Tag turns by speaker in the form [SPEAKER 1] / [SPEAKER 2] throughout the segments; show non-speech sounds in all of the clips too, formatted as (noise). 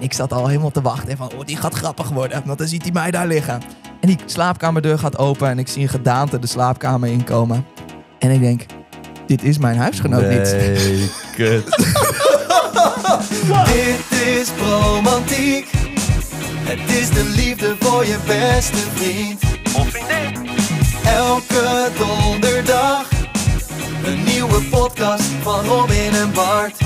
[SPEAKER 1] ik zat al helemaal te wachten. En van, oh, die gaat grappig worden, want dan ziet hij mij daar liggen. En die slaapkamerdeur gaat open en ik zie een gedaante de slaapkamer inkomen. En ik denk, dit is mijn huisgenoot
[SPEAKER 2] Nou,
[SPEAKER 1] niet. (laughs)
[SPEAKER 2] Nee, kut.
[SPEAKER 3] Dit is romantiek. Het is de liefde voor je beste vriend. Of vriendin. Elke donderdag. Een nieuwe podcast van Robin en Bart.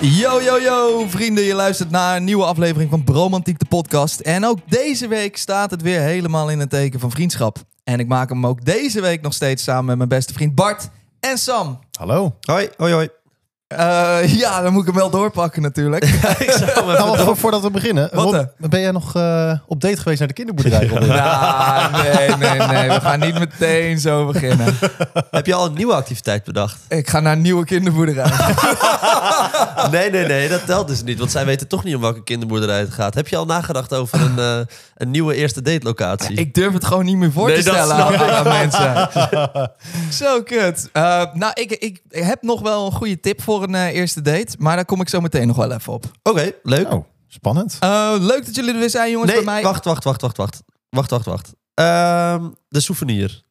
[SPEAKER 1] Yo, yo, yo, vrienden. Je luistert naar een nieuwe aflevering van Bromantiek, de podcast. En ook deze week staat het weer helemaal in het teken van vriendschap. En ik maak hem ook deze week nog steeds samen met mijn beste vriend Bart en Sam.
[SPEAKER 2] (laughs) Hallo.
[SPEAKER 4] Hoi, hoi, hoi.
[SPEAKER 1] Eh, ja, dan moet ik hem wel doorpakken natuurlijk.
[SPEAKER 2] Nou, wat voor- voordat we beginnen.
[SPEAKER 1] Wat,
[SPEAKER 2] Rob, ben jij nog eh, op date geweest naar de kinderboerderij? Robin?
[SPEAKER 1] Nou, nee, nee, nee. We gaan niet meteen zo beginnen.
[SPEAKER 4] Heb je al een nieuwe activiteit bedacht?
[SPEAKER 1] Ik ga naar een nieuwe kinderboerderij. Oh.
[SPEAKER 4] Nee, nee, nee, dat telt dus niet. Want zij weten toch niet om welke kinderboerderij het gaat. Heb je al nagedacht over een, eh, een nieuwe eerste date locatie?
[SPEAKER 1] Ah. Ik durf het gewoon niet meer voor te
[SPEAKER 4] Nee, dat
[SPEAKER 1] stellen
[SPEAKER 4] snap
[SPEAKER 1] aan, aan mensen.
[SPEAKER 4] (laughs)
[SPEAKER 1] zo kut. Eh, nou, ik, ik heb nog wel een goede tip voor een eh, eerste date. Maar daar kom ik zo meteen nog wel even op.
[SPEAKER 4] Oké, leuk.
[SPEAKER 2] Oh, spannend.
[SPEAKER 1] Eh, leuk dat jullie er weer zijn, jongens.
[SPEAKER 4] nee,
[SPEAKER 1] bij mij.
[SPEAKER 4] wacht, wacht, wacht, wacht, wacht. Wacht, wacht, wacht. Ehm, de souvenir.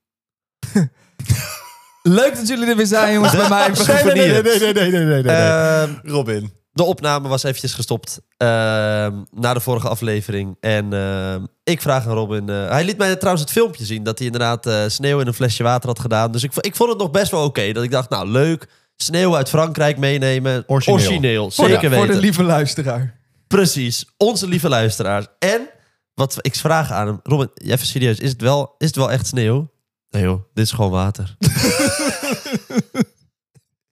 [SPEAKER 1] Leuk dat jullie er weer zijn, jongens. bij
[SPEAKER 4] (laughs)
[SPEAKER 1] mij.
[SPEAKER 4] Zijn we-
[SPEAKER 2] nee, nee, nee, nee, nee, nee, nee, nee.
[SPEAKER 4] Ehm,
[SPEAKER 2] Robin.
[SPEAKER 4] de opname was eventjes gestopt ehm, na de vorige aflevering. En ehm, ik vraag aan Robin... eh, hij liet mij trouwens het filmpje zien dat hij inderdaad eh, sneeuw in een flesje water had gedaan. Dus ik, vo- ik vond het nog best wel oké. dat ik dacht, nou leuk, sneeuw uit Frankrijk meenemen.
[SPEAKER 2] Origineel.
[SPEAKER 1] voor,
[SPEAKER 4] zeker
[SPEAKER 1] de,
[SPEAKER 4] weten.
[SPEAKER 1] voor de lieve luisteraar. (laughs)
[SPEAKER 4] Precies, onze lieve luisteraars. En wat ik vraag aan hem, Robin, even serieus, is het wel, is het wel echt sneeuw? Nee joh, dit is gewoon water.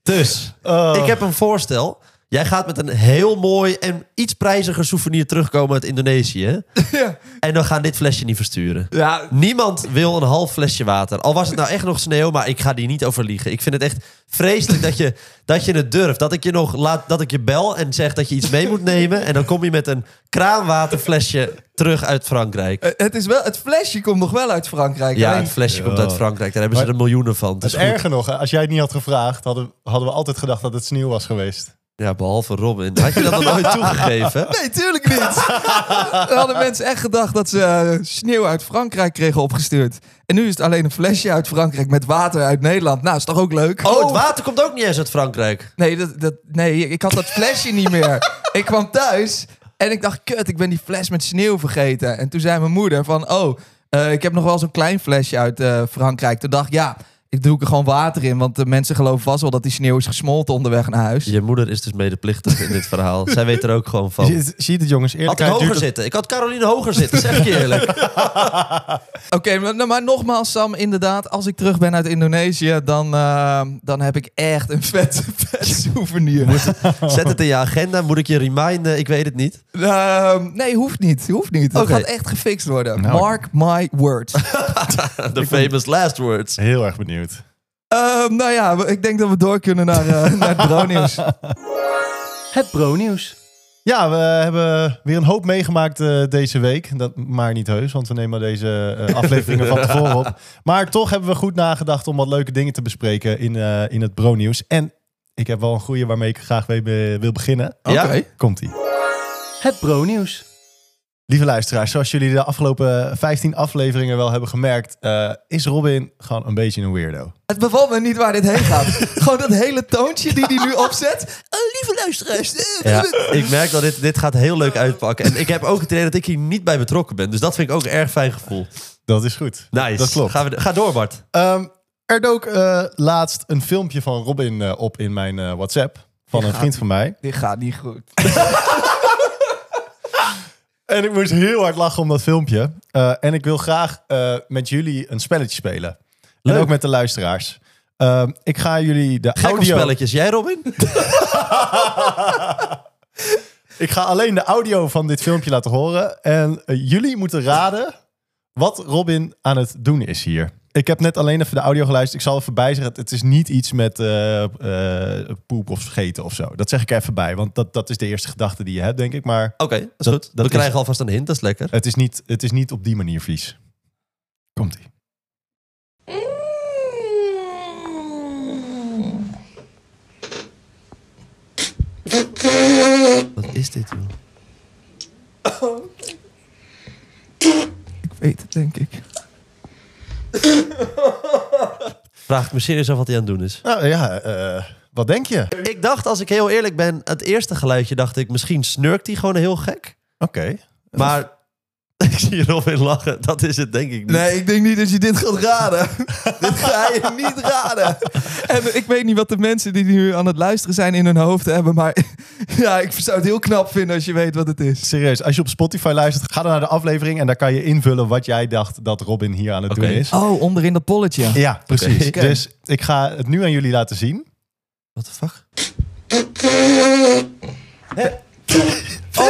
[SPEAKER 4] dus, ik heb een voorstel. Jij gaat met een heel mooi en iets prijziger souvenir terugkomen uit Indonesië.
[SPEAKER 1] ja.
[SPEAKER 4] En we gaan dit flesje niet versturen.
[SPEAKER 1] ja,
[SPEAKER 4] Niemand wil een half flesje water. Al was het nou echt nog sneeuw, maar ik ga die niet overliegen. Ik vind het echt vreselijk dat je, dat je het durft. Dat ik je nog laat, dat ik je bel en zeg dat je iets mee moet nemen. En dan kom je met een kraanwaterflesje terug uit Frankrijk.
[SPEAKER 1] eh, het, is wel, het flesje komt nog wel uit Frankrijk.
[SPEAKER 4] Ja,
[SPEAKER 1] Alleen-
[SPEAKER 4] het flesje komt uit Frankrijk. Daar hebben ze
[SPEAKER 2] Maar-
[SPEAKER 4] er miljoenen van. Het
[SPEAKER 2] Dat
[SPEAKER 4] is
[SPEAKER 2] is
[SPEAKER 4] goed.
[SPEAKER 2] erger nog, hè. als jij het niet had gevraagd, hadden, hadden we altijd gedacht dat het sneeuw was geweest.
[SPEAKER 4] Ja, behalve Robin. Had je dat dan nooit toegegeven?
[SPEAKER 1] Nee, tuurlijk
[SPEAKER 4] (laughs)
[SPEAKER 1] niet. Dan hadden mensen echt gedacht dat ze eh, sneeuw uit Frankrijk kregen opgestuurd. En nu is het alleen een flesje uit Frankrijk met water uit Nederland. Nou, is toch ook leuk?
[SPEAKER 4] Oh, het water komt ook niet eens uit Frankrijk.
[SPEAKER 1] Nee, dat, dat, nee, ik had dat flesje niet meer. Ik kwam thuis en ik dacht, kut, ik ben die fles met sneeuw vergeten. En toen zei mijn moeder van, oh, eh, ik heb nog wel zo'n klein flesje uit eh, Frankrijk. Toen dacht ik, ja, ik doe er gewoon water in. Want de mensen geloven vast wel dat die sneeuw is gesmolten onderweg naar huis.
[SPEAKER 4] Je moeder is dus medeplichtig in dit verhaal. Zij weet er ook gewoon van.
[SPEAKER 2] Zie zie je het jongens?
[SPEAKER 4] Had ik hoger
[SPEAKER 2] duurt het-
[SPEAKER 4] zitten. Ik had Caroline hoger zitten, zeg ik je eerlijk.
[SPEAKER 1] Oké, maar, nou, maar nogmaals Sam, inderdaad, als ik terug ben uit Indonesië, dan, eh, dan heb ik echt een vet, (laughs) vet souvenir.
[SPEAKER 4] (laughs) Zet het in je agenda. Moet ik je reminden? Ik weet het (laughs) niet.
[SPEAKER 1] Ehm, nee, hoeft niet, hoeft niet. Dat
[SPEAKER 4] Oké.
[SPEAKER 1] gaat echt gefixt worden.
[SPEAKER 2] Nou.
[SPEAKER 1] Mark my words.
[SPEAKER 4] The famous last words.
[SPEAKER 2] Heel erg benieuwd.
[SPEAKER 1] Ehm, nou ja, we- ik denk dat we door kunnen naar, eh, (laughs) naar het bro-nieuws.
[SPEAKER 2] Het Pro-nieuws. Ja, we hebben weer een hoop meegemaakt eh, deze week. Dat maar niet heus, want we nemen deze eh, afleveringen van tevoren op. Maar toch hebben we goed nagedacht om wat leuke dingen te bespreken in, eh, in het Bro-nieuws. En ik heb wel een goede waarmee ik graag mee be- wil beginnen.
[SPEAKER 1] Oh.
[SPEAKER 4] Ja.
[SPEAKER 2] Komt-ie. Het Pro-nieuws. Lieve luisteraars, zoals jullie de afgelopen 15 afleveringen wel hebben gemerkt... eh, is Robin gewoon een beetje een weirdo.
[SPEAKER 1] Het bevalt me niet waar dit heen gaat. (laughs) Gewoon dat hele toontje die (laughs) hij nu opzet. Oh, lieve luisteraars. eh,
[SPEAKER 4] Ja, ik merk dat dit, dit gaat heel leuk uitpakken. En ik heb ook het idee dat ik hier niet bij betrokken ben. Dus dat vind ik ook een erg fijn gevoel.
[SPEAKER 2] Dat is goed.
[SPEAKER 4] Nice.
[SPEAKER 2] Dat klopt.
[SPEAKER 4] Gaan we, ga door, Bart.
[SPEAKER 2] Ehm, er dook eh, laatst een filmpje van Robin eh, op in mijn eh, WhatsApp. Van een vriend van mij.
[SPEAKER 1] Dit gaat niet goed.
[SPEAKER 2] En ik moest heel hard lachen om dat filmpje. Eh, en ik wil graag eh, met jullie een spelletje spelen. En
[SPEAKER 4] Leuk.
[SPEAKER 2] ook met de luisteraars. Ehm, ik ga jullie de
[SPEAKER 4] Gek op
[SPEAKER 2] audio...
[SPEAKER 4] spelletjes. Jij, Robin?
[SPEAKER 2] Ik ga alleen de audio van dit filmpje laten horen. En eh, jullie moeten raden wat Robin aan het doen is hier. Ik heb net alleen even de audio geluisterd. Ik zal even bijzeggen, het is niet iets met eh, eh, poep of scheten of zo. Dat zeg ik er even bij, want dat, dat is de eerste gedachte die je hebt, denk ik. Maar
[SPEAKER 4] (laughs) Oké, dat is
[SPEAKER 2] Dat-
[SPEAKER 4] goed.
[SPEAKER 2] dat
[SPEAKER 4] we
[SPEAKER 2] is-
[SPEAKER 4] krijgen alvast een hint. Dat is lekker.
[SPEAKER 2] het is niet, het is niet op die manier vies. Komt-ie.
[SPEAKER 4] Wat is dit, joh?
[SPEAKER 1] Ik weet het, denk ik.
[SPEAKER 4] Vraag ik me serieus af wat hij aan het doen is.
[SPEAKER 2] Nou ja, eh, wat denk je? Oké.
[SPEAKER 4] Ik dacht, als ik heel eerlijk ben, het eerste geluidje dacht ik, misschien snurkt hij gewoon heel gek. Maar (laughs) ik zie Robin lachen, dat is het denk ik niet.
[SPEAKER 1] Nee, ik denk niet dat je dit gaat raden. (laughs) dit ga je niet raden. En ik weet niet wat de mensen die nu aan het luisteren zijn in hun hoofd hebben, maar (laughs) ja, ik zou het heel knap vinden als je weet wat het is.
[SPEAKER 2] Serieus, als je op Spotify luistert, ga dan naar de aflevering en daar kan je invullen wat jij dacht dat Robin hier aan het
[SPEAKER 4] Oké.
[SPEAKER 2] doen is.
[SPEAKER 1] Oh, onderin dat polletje.
[SPEAKER 2] Ja, precies.
[SPEAKER 1] Oké.
[SPEAKER 2] Dus ik ga het nu aan jullie laten zien.
[SPEAKER 4] What the fuck?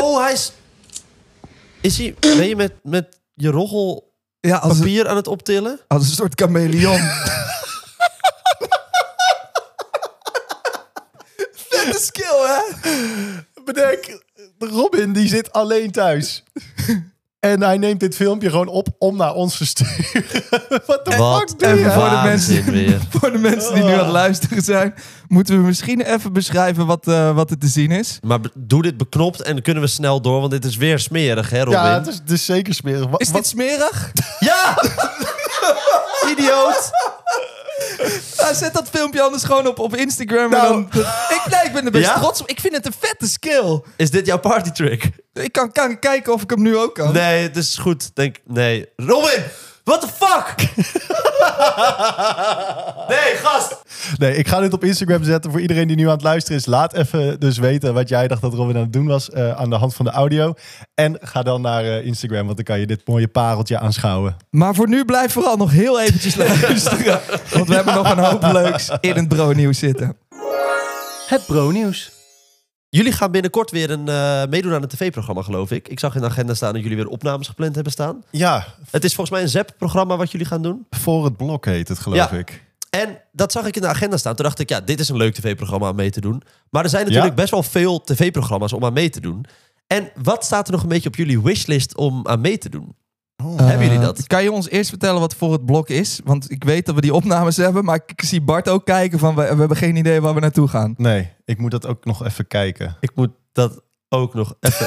[SPEAKER 4] Oh, hij is... Is hij... Ben je met, met je roggel
[SPEAKER 1] Ja, als, een-
[SPEAKER 4] papier aan het optillen?
[SPEAKER 1] als een soort chameleon. Vette skill, hè?
[SPEAKER 2] Bedenk, Robin die zit alleen (laughs) thuis. en hij neemt dit filmpje gewoon op om naar ons te sturen. (laughs) Wat de fuck
[SPEAKER 4] Wat
[SPEAKER 2] doe
[SPEAKER 4] een
[SPEAKER 2] je?
[SPEAKER 1] wa- Voor de
[SPEAKER 4] waanzin
[SPEAKER 1] mensen-
[SPEAKER 4] weer.
[SPEAKER 1] (laughs) Voor de mensen die nu aan het luisteren zijn, moeten we misschien even beschrijven wat, eh, wat er te zien is.
[SPEAKER 4] Maar be- doe dit beknopt en dan kunnen we snel door, want dit is weer smerig, hè Robin?
[SPEAKER 2] Ja, het is, het is zeker smerig. Wa-
[SPEAKER 1] Is dit
[SPEAKER 2] wat-
[SPEAKER 1] smerig?
[SPEAKER 4] Ja! Idioot!
[SPEAKER 1] (laughs) Nou, zet dat filmpje anders gewoon op, op Instagram.
[SPEAKER 2] Nou.
[SPEAKER 1] En dan, ik, nee, ik ben er best
[SPEAKER 4] Ja?
[SPEAKER 1] trots op. Ik vind het een vette skill.
[SPEAKER 4] Is dit jouw partytrick?
[SPEAKER 1] Ik kan, kan kijken of ik hem nu ook kan.
[SPEAKER 4] Nee, het is goed. Denk, nee. Robin! What the fuck? (laughs) nee, gast!
[SPEAKER 2] Nee, ik ga dit op Instagram zetten. Voor iedereen die nu aan het luisteren is, laat even dus weten wat jij dacht dat Robin aan het doen was eh, aan de hand van de audio. En ga dan naar eh, Instagram, want dan kan je dit mooie pareltje aanschouwen.
[SPEAKER 1] Maar voor nu blijf vooral nog heel eventjes (laughs) luisteren. Want we hebben nog een hoop leuks in het bro-nieuws zitten.
[SPEAKER 2] Het pro-nieuws.
[SPEAKER 4] Jullie gaan binnenkort weer een, eh, meedoen aan een tv-programma, geloof ik. Ik zag in de agenda staan dat jullie weer opnames gepland hebben staan.
[SPEAKER 2] Ja,
[SPEAKER 4] Het is volgens mij een ZEP-programma wat jullie gaan doen.
[SPEAKER 2] voor het blok heet het, geloof
[SPEAKER 4] Ja.
[SPEAKER 2] ik.
[SPEAKER 4] En dat zag ik in de agenda staan. Toen dacht ik, ja, dit is een leuk tv-programma om mee te doen. Maar er zijn natuurlijk
[SPEAKER 2] Ja.
[SPEAKER 4] best wel veel tv-programma's om aan mee te doen. En wat staat er nog een beetje op jullie wishlist om aan mee te doen? Hebben jullie dat?
[SPEAKER 1] Eh, Kan je ons eerst vertellen wat voor het blok is? Want ik weet dat we die opnames hebben, maar ik zie Bart ook kijken van... we, we hebben geen idee waar we naartoe gaan.
[SPEAKER 2] Nee, ik moet dat ook nog even kijken.
[SPEAKER 4] Ik moet dat ook nog (laughs) even...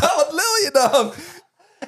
[SPEAKER 1] wat lul je dan?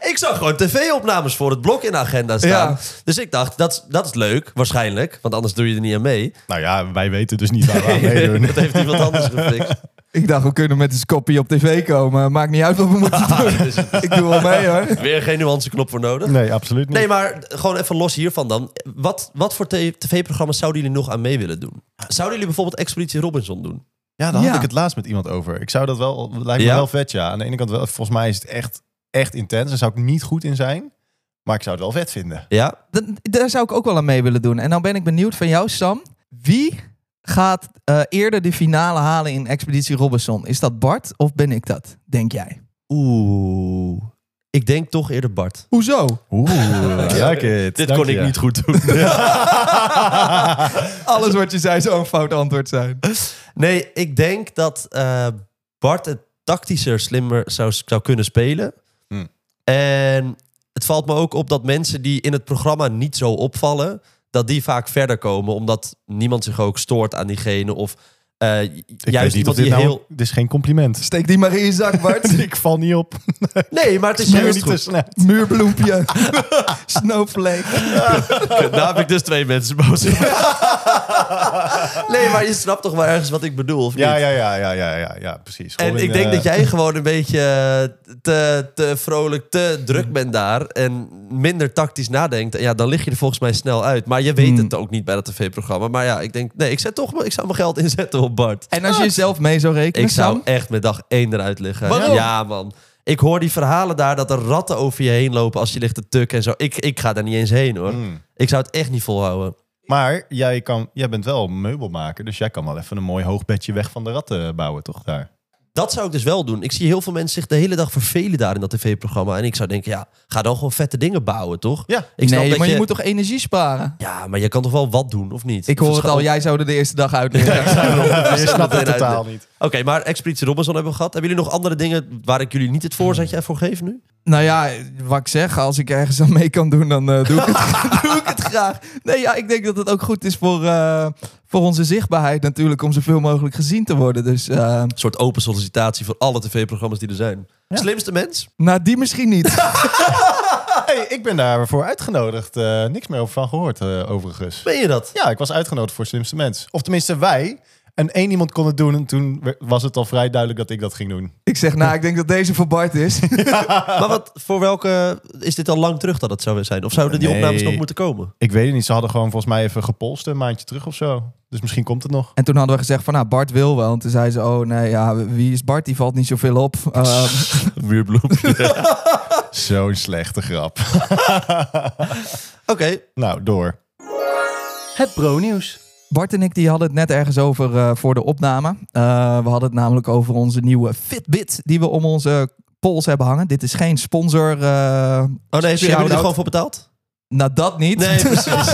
[SPEAKER 4] ik zag gewoon tv-opnames voor het blok in de agenda staan.
[SPEAKER 1] Ja.
[SPEAKER 4] Dus ik dacht, dat, is- dat is leuk, waarschijnlijk. Want anders doe je er niet aan mee.
[SPEAKER 2] Nou ja, wij weten dus niet waar
[SPEAKER 4] (laughs)
[SPEAKER 2] we aan meedoen.
[SPEAKER 4] dat heeft iemand anders (laughs) gefixt.
[SPEAKER 1] Ik dacht, we kunnen met een scoppie op tv komen. Maakt niet uit wat (laughs) we moeten doen.
[SPEAKER 4] Dus
[SPEAKER 1] Ik doe wel mee, hoor.
[SPEAKER 4] weer geen nuanceknop voor nodig.
[SPEAKER 2] Nee, absoluut niet.
[SPEAKER 4] Nee, maar gewoon even los hiervan dan. Wat, wat voor t- tv-programma's zouden jullie nog aan mee willen doen? Zouden jullie bijvoorbeeld Expeditie Robinson doen?
[SPEAKER 2] Ja, daar
[SPEAKER 1] Ja.
[SPEAKER 2] had ik het laatst met iemand over. Ik zou dat wel, lijkt me
[SPEAKER 4] Ja?
[SPEAKER 2] wel vet, ja. Aan de ene kant wel, volgens mij is het echt, echt intens. Daar zou ik niet goed in zijn, maar ik zou het wel vet vinden.
[SPEAKER 4] Ja?
[SPEAKER 1] Dat- daar zou ik ook wel aan mee willen doen. En dan ben ik benieuwd van jou, Sam. Wie gaat eh, eerder de finale halen in Expeditie Robinson? Is dat Bart of ben ik dat, denk jij?
[SPEAKER 4] Oeh. Ik denk toch eerder Bart.
[SPEAKER 1] Hoezo?
[SPEAKER 2] Oeh, like it.
[SPEAKER 4] Dit
[SPEAKER 2] Dank
[SPEAKER 4] kon
[SPEAKER 2] je.
[SPEAKER 4] ik niet goed
[SPEAKER 2] (laughs)
[SPEAKER 4] doen.
[SPEAKER 1] Alles wat je zei zou een fout antwoord zijn.
[SPEAKER 4] Nee, ik denk dat eh, Bart het tactischer, slimmer zou, zou kunnen spelen.
[SPEAKER 2] Hmm.
[SPEAKER 4] En het valt me ook op dat mensen die in het programma niet zo opvallen, dat die vaak verder komen, omdat niemand zich ook stoort aan diegene. Of eh,
[SPEAKER 2] Ik
[SPEAKER 4] juist
[SPEAKER 2] weet niet of
[SPEAKER 4] iemand
[SPEAKER 2] dit
[SPEAKER 4] die
[SPEAKER 2] nou...
[SPEAKER 4] heel.
[SPEAKER 2] (laughs) Dit is geen
[SPEAKER 4] (laughs)
[SPEAKER 2] compliment.
[SPEAKER 1] Steek die maar in je zak, Bart.
[SPEAKER 2] ik val niet op. (laughs)
[SPEAKER 4] Nee, maar het is
[SPEAKER 2] Smeer
[SPEAKER 4] juist
[SPEAKER 2] niet
[SPEAKER 4] goed.
[SPEAKER 2] te snel.
[SPEAKER 1] (laughs) Muurbloempje. (laughs) Snowflake.
[SPEAKER 4] Daar heb ik dus twee mensen boos op. (laughs) nee, maar je snapt toch wel ergens wat ik bedoel, of niet?
[SPEAKER 2] Ja, ja, ja, ja, ja, ja, ja, precies.
[SPEAKER 4] En
[SPEAKER 2] Gewoon,
[SPEAKER 4] ik denk
[SPEAKER 2] eh,
[SPEAKER 4] dat jij gewoon een beetje eh, te, te vrolijk, te druk bent daar. En minder tactisch nadenkt. En ja, dan lig je er volgens mij snel uit. Maar je weet
[SPEAKER 1] Hmm.
[SPEAKER 4] het ook niet bij dat tv-programma. Maar ja, ik denk, nee, ik, zet toch, wel- ik zou mijn geld (laughs) inzetten op Bart.
[SPEAKER 1] En als je jezelf mee zou rekenen,
[SPEAKER 4] Ik zou
[SPEAKER 1] Sam?
[SPEAKER 4] echt met dag één eruit liggen.
[SPEAKER 1] Waarom?
[SPEAKER 4] Ja, man. Ik hoor die verhalen daar dat er ratten over je heen lopen als je ligt te tukken en zo. Ik, ik ga daar niet eens heen hoor.
[SPEAKER 2] Hmm.
[SPEAKER 4] Ik zou het echt niet volhouden.
[SPEAKER 2] Maar jij, kan, jij bent wel meubelmaker, dus jij kan wel even een mooi hoog bedje weg van de ratten bouwen, toch? Daar.
[SPEAKER 4] Dat zou ik dus wel doen. Ik zie heel veel mensen zich de hele dag vervelen daar in dat tv-programma. En ik zou denken, ja, ga dan gewoon vette dingen bouwen, toch?
[SPEAKER 2] Ja.
[SPEAKER 4] Ik snap
[SPEAKER 1] nee,
[SPEAKER 4] dat
[SPEAKER 1] maar je... moet toch energie sparen?
[SPEAKER 4] Ja, maar je kan toch wel wat doen, of niet?
[SPEAKER 1] Ik hoor het
[SPEAKER 4] Verschil-
[SPEAKER 1] al, jij zou er de eerste dag uit liggen. (laughs)
[SPEAKER 2] Je snapt het
[SPEAKER 4] meteen
[SPEAKER 2] totaal
[SPEAKER 4] uit.
[SPEAKER 2] niet.
[SPEAKER 4] Oké, maar Expeditie Robinson hebben we gehad. Hebben jullie nog andere dingen waar ik jullie niet het voorzetje voor geef nu?
[SPEAKER 1] Nou ja, wat ik zeg, als ik ergens aan mee kan doen, dan eh, doe, (laughs) ik het, doe ik het graag. Nee, ja, ik denk dat het ook goed is voor, eh, voor onze zichtbaarheid natuurlijk, om zoveel mogelijk gezien te worden. Dus eh,
[SPEAKER 4] Een soort open sollicitatie. presentatie voor alle tv-programma's die er zijn. Slimste mens?
[SPEAKER 1] Nou, die misschien (laughs) niet.
[SPEAKER 2] Hey, ik ben daarvoor uitgenodigd. Eh, niks meer over van gehoord, eh, overigens.
[SPEAKER 4] Ben je dat?
[SPEAKER 2] Ja, ik was uitgenodigd voor Slimste Mens. Of tenminste, wij. En één iemand kon het doen. En toen we- was het al vrij duidelijk dat ik dat ging doen.
[SPEAKER 1] ik zeg, nou, ik denk dat deze voor Bart (laughs) is.
[SPEAKER 4] Maar wat, voor welke... Is dit al lang terug dat het zou zijn? Of zouden die
[SPEAKER 2] Nee.
[SPEAKER 4] opnames nog moeten komen?
[SPEAKER 2] Ik weet het niet. Ze hadden gewoon volgens mij even gepolst een maandje terug of zo. Dus misschien komt het nog.
[SPEAKER 1] En toen hadden we gezegd van, nou, Bart wil wel. En toen zei ze, oh nee, ja, wie is Bart? Die valt niet zoveel (laughs) op. Ehm,
[SPEAKER 2] Muurbloempje. (laughs) Zo'n slechte grap.
[SPEAKER 4] Oké,
[SPEAKER 2] Nou, door. Het pro-nieuws.
[SPEAKER 1] Bart en ik die hadden het net ergens over eh, voor de opname. Eh, we hadden het namelijk over onze nieuwe Fitbit die we om onze pols hebben hangen. Dit is geen sponsor. eh,
[SPEAKER 4] Oh nee, ze hebben
[SPEAKER 1] Shout-out.
[SPEAKER 4] er gewoon voor betaald?
[SPEAKER 1] nou, dat niet. (laughs)
[SPEAKER 4] Nee, precies.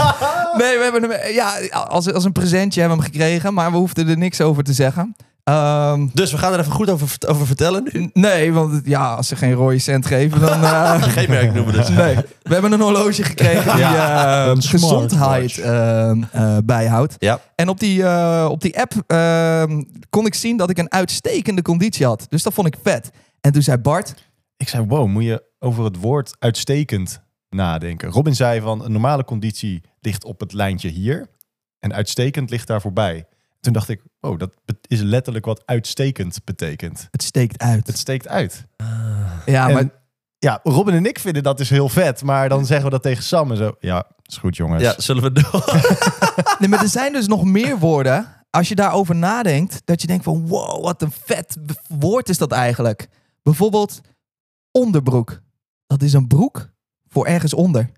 [SPEAKER 1] Nee, we hebben hem, ja, als, als een presentje hebben we hem gekregen, maar we hoefden er niks over te zeggen. Ehm,
[SPEAKER 4] dus we gaan er even goed over, vert- over vertellen
[SPEAKER 1] (laughs)
[SPEAKER 4] nu.
[SPEAKER 1] n- nee, want het- ja, als ze geen rode cent geven, dan...
[SPEAKER 4] (laughs)
[SPEAKER 1] eh, (laughs)
[SPEAKER 4] Geen merk noemen dus.
[SPEAKER 1] nee, we hebben een horloge gekregen die eh,
[SPEAKER 2] een
[SPEAKER 1] gezondheid eh, eh, bijhoudt.
[SPEAKER 4] Ja.
[SPEAKER 1] En op die, eh, op die app ehm, kon ik zien dat ik een uitstekende conditie had. Dus dat vond ik vet. En toen zei Bart,
[SPEAKER 2] Ik zei, wow, moet je over het woord uitstekend nadenken. Robin zei van, een normale conditie ligt op het lijntje hier. En uitstekend ligt daar voorbij. Toen dacht ik, oh, dat be- is letterlijk wat uitstekend betekent.
[SPEAKER 1] het steekt uit.
[SPEAKER 2] Het steekt uit.
[SPEAKER 1] ja,
[SPEAKER 2] en,
[SPEAKER 1] maar
[SPEAKER 2] ja, Robin en ik vinden dat dus heel vet. Maar dan zeggen we dat tegen Sam en zo. Ja, is goed jongens.
[SPEAKER 4] Ja, zullen we door? (laughs)
[SPEAKER 1] Nee, maar er zijn dus nog meer woorden. Als je daarover nadenkt, dat je denkt van wow, wat een vet w- woord is dat eigenlijk. Bijvoorbeeld onderbroek. Dat is een broek voor ergens onder.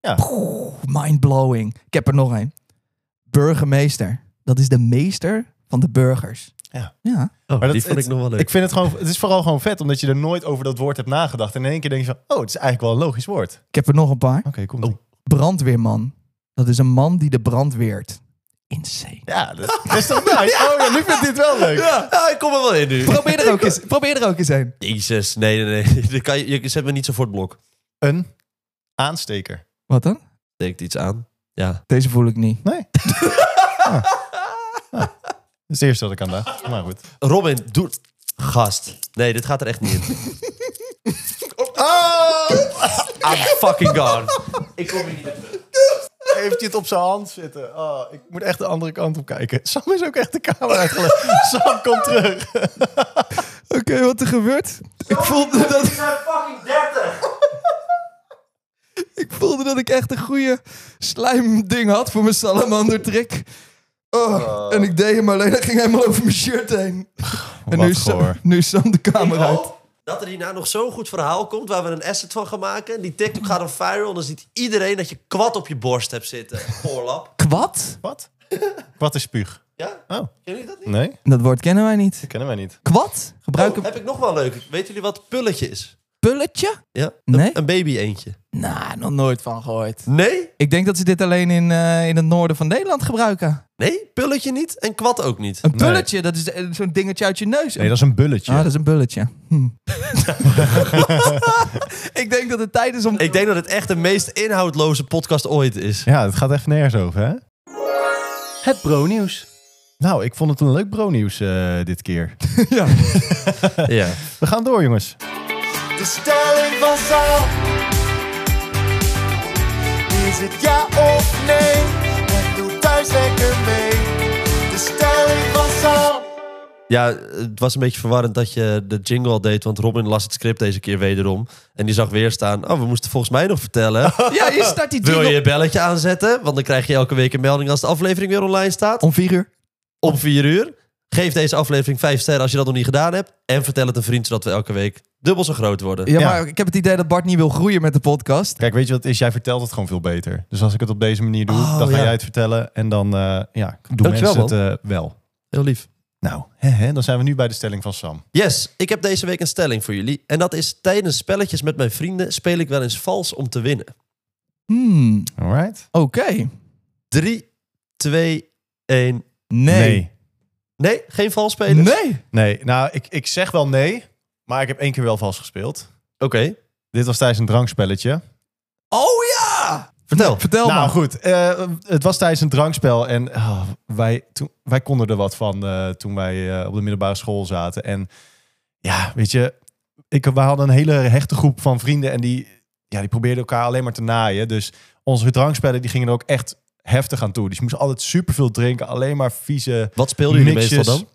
[SPEAKER 2] Ja.
[SPEAKER 1] Poeh, mindblowing. Ik heb er nog een. Burgemeester. Dat is de meester van de burgers.
[SPEAKER 2] Ja.
[SPEAKER 1] ja.
[SPEAKER 4] Oh,
[SPEAKER 2] dat-
[SPEAKER 4] die vond
[SPEAKER 2] het-
[SPEAKER 4] ik nog wel leuk.
[SPEAKER 2] Ik vind het gewoon, het is vooral gewoon vet, omdat je er nooit over dat woord hebt nagedacht. En in één keer denk je van, oh, het is eigenlijk wel een logisch woord. Oké,
[SPEAKER 1] Ik heb er nog een paar.
[SPEAKER 2] komt
[SPEAKER 4] Oh.
[SPEAKER 1] Brandweerman. Dat is een man die de brand weert. Insane.
[SPEAKER 2] Ja, dat dat is toch
[SPEAKER 4] (laughs)
[SPEAKER 2] nice? Oh ja, nu vind ik dit wel leuk.
[SPEAKER 4] Ah, ik kom er wel in nu.
[SPEAKER 1] Probeer er ook (laughs) eens, probeer er ook eens een.
[SPEAKER 4] (laughs) Jezus, nee, nee, nee. (laughs) Dan kan je, je zet me niet zo voor het blok.
[SPEAKER 2] Een aansteker.
[SPEAKER 1] Wat dan?
[SPEAKER 4] Denkt iets aan. Ja.
[SPEAKER 1] Deze voel ik niet.
[SPEAKER 2] (laughs) Ah. Dat is het eerste wat ik aan dacht. Maar goed.
[SPEAKER 4] Robin, doe... Gast. Nee, dit gaat er echt niet in.
[SPEAKER 2] Oh!
[SPEAKER 4] (laughs) I'm fucking gone. Ik kom hier niet meer terug.
[SPEAKER 2] Heeft je het op zijn hand zitten? Oh, ik moet echt de andere kant op kijken. (laughs) Sam is ook echt de kamer (laughs) uitgelegd. Sam, kom terug.
[SPEAKER 1] Oké, wat er gebeurt? Ik voelde dat...
[SPEAKER 4] zijn fucking 30.
[SPEAKER 1] Ik voelde dat ik echt een goede slijmding had voor mijn salamander trick. Oh, En ik deed hem alleen, hij ging helemaal over mijn shirt heen. En nu
[SPEAKER 2] Wat
[SPEAKER 1] is, Sam,
[SPEAKER 2] goor.
[SPEAKER 1] nu is Sam de
[SPEAKER 4] Ik
[SPEAKER 1] kamer uit.
[SPEAKER 4] hoop dat er hierna nog zo'n goed verhaal komt waar we een asset van gaan maken. Die TikTok gaat een viral en dan ziet iedereen dat je kwad op je borst hebt zitten. (laughs) Voorlap.
[SPEAKER 1] Kwad?
[SPEAKER 2] Wat? Wat is spuug?
[SPEAKER 4] Ja?
[SPEAKER 2] Oh,
[SPEAKER 4] Kennen jullie dat niet?
[SPEAKER 2] nee?
[SPEAKER 1] Dat woord kennen wij niet.
[SPEAKER 2] Dat kennen wij niet.
[SPEAKER 1] Kwad? Gebruiken
[SPEAKER 4] Oh, heb ik nog wel leuk. Weten jullie wat pulletje is?
[SPEAKER 1] pulletje?
[SPEAKER 4] Ja?
[SPEAKER 1] Nee.
[SPEAKER 4] Een baby eentje.
[SPEAKER 1] Nou, nog nooit van gehoord.
[SPEAKER 4] Nee?
[SPEAKER 1] Ik denk dat ze dit alleen in, eh, in het noorden van Nederland gebruiken.
[SPEAKER 4] Nee, pulletje niet en kwad ook niet.
[SPEAKER 1] Een pulletje, dat is eh, zo'n dingetje uit je neus.
[SPEAKER 2] Nee, dat is een bulletje.
[SPEAKER 1] Ah, dat is een bulletje. Hm. ik denk dat het tijd is om...
[SPEAKER 4] Ik denk dat het echt de meest inhoudloze podcast ooit is.
[SPEAKER 2] Ja, het gaat echt nergens over, hè? Het bro-nieuws. Nou, ik vond het een leuk bro-nieuws eh, dit keer.
[SPEAKER 1] Ja.
[SPEAKER 4] Ja.
[SPEAKER 2] We gaan door, jongens.
[SPEAKER 3] De stelling van Saal. Is het ja of nee? En doe thuis lekker mee. De stelling van Saal.
[SPEAKER 4] Ja, het was een beetje verwarrend dat je de jingle al deed, want Robin las het script deze keer wederom. En die zag weer staan, oh, we moesten volgens mij nog vertellen.
[SPEAKER 1] ja, je start die
[SPEAKER 4] Wil
[SPEAKER 1] jingle-
[SPEAKER 4] je je belletje aanzetten? Want dan krijg je elke week een melding als de aflevering weer online staat.
[SPEAKER 1] Om vier uur.
[SPEAKER 4] Om vier uur. Geef deze aflevering vijf sterren als je dat nog niet gedaan hebt. En vertel het een vriend, zodat we elke week dubbel zo groot worden.
[SPEAKER 1] Ja,
[SPEAKER 2] Ja.
[SPEAKER 1] maar ik heb het idee dat Bart niet wil groeien met de podcast.
[SPEAKER 2] Kijk, weet je wat het is? Jij vertelt het gewoon veel beter. Dus als ik het op deze manier doe, dan ga
[SPEAKER 4] ja.
[SPEAKER 2] jij het vertellen. En dan eh, ja, doen
[SPEAKER 4] Dankjewel,
[SPEAKER 2] mensen het eh, wel.
[SPEAKER 4] Heel lief.
[SPEAKER 2] Nou, hè, hè, dan zijn we nu bij de stelling van Sam.
[SPEAKER 4] Yes, ik heb deze week een stelling voor jullie. En dat is, tijdens spelletjes met mijn vrienden speel ik wel eens vals om te winnen.
[SPEAKER 1] Hmm,
[SPEAKER 2] All right?
[SPEAKER 1] oké.
[SPEAKER 4] 3, 2, 1.
[SPEAKER 1] Nee.
[SPEAKER 4] Nee, geen vals spelen.
[SPEAKER 1] Nee.
[SPEAKER 2] Nee, nou, ik, ik zeg wel nee, maar ik heb één keer wel vast gespeeld.
[SPEAKER 4] Oké.
[SPEAKER 2] Dit was tijdens een drankspelletje.
[SPEAKER 1] Oh ja!
[SPEAKER 4] Vertel.
[SPEAKER 1] Vertel
[SPEAKER 2] nou
[SPEAKER 1] maar.
[SPEAKER 2] goed, eh, het was tijdens een drankspel en ah, wij, toen, wij konden er wat van eh, toen wij eh, op de middelbare school zaten. En ja, weet je, ik, we hadden een hele hechte groep van vrienden en die, ja, die probeerden elkaar alleen maar te naaien. Dus onze drankspellen die gingen er ook echt heftig aan toe. Dus je moest altijd superveel drinken, alleen maar vieze
[SPEAKER 4] Wat speelden jullie
[SPEAKER 2] mixjes.
[SPEAKER 4] meestal dan?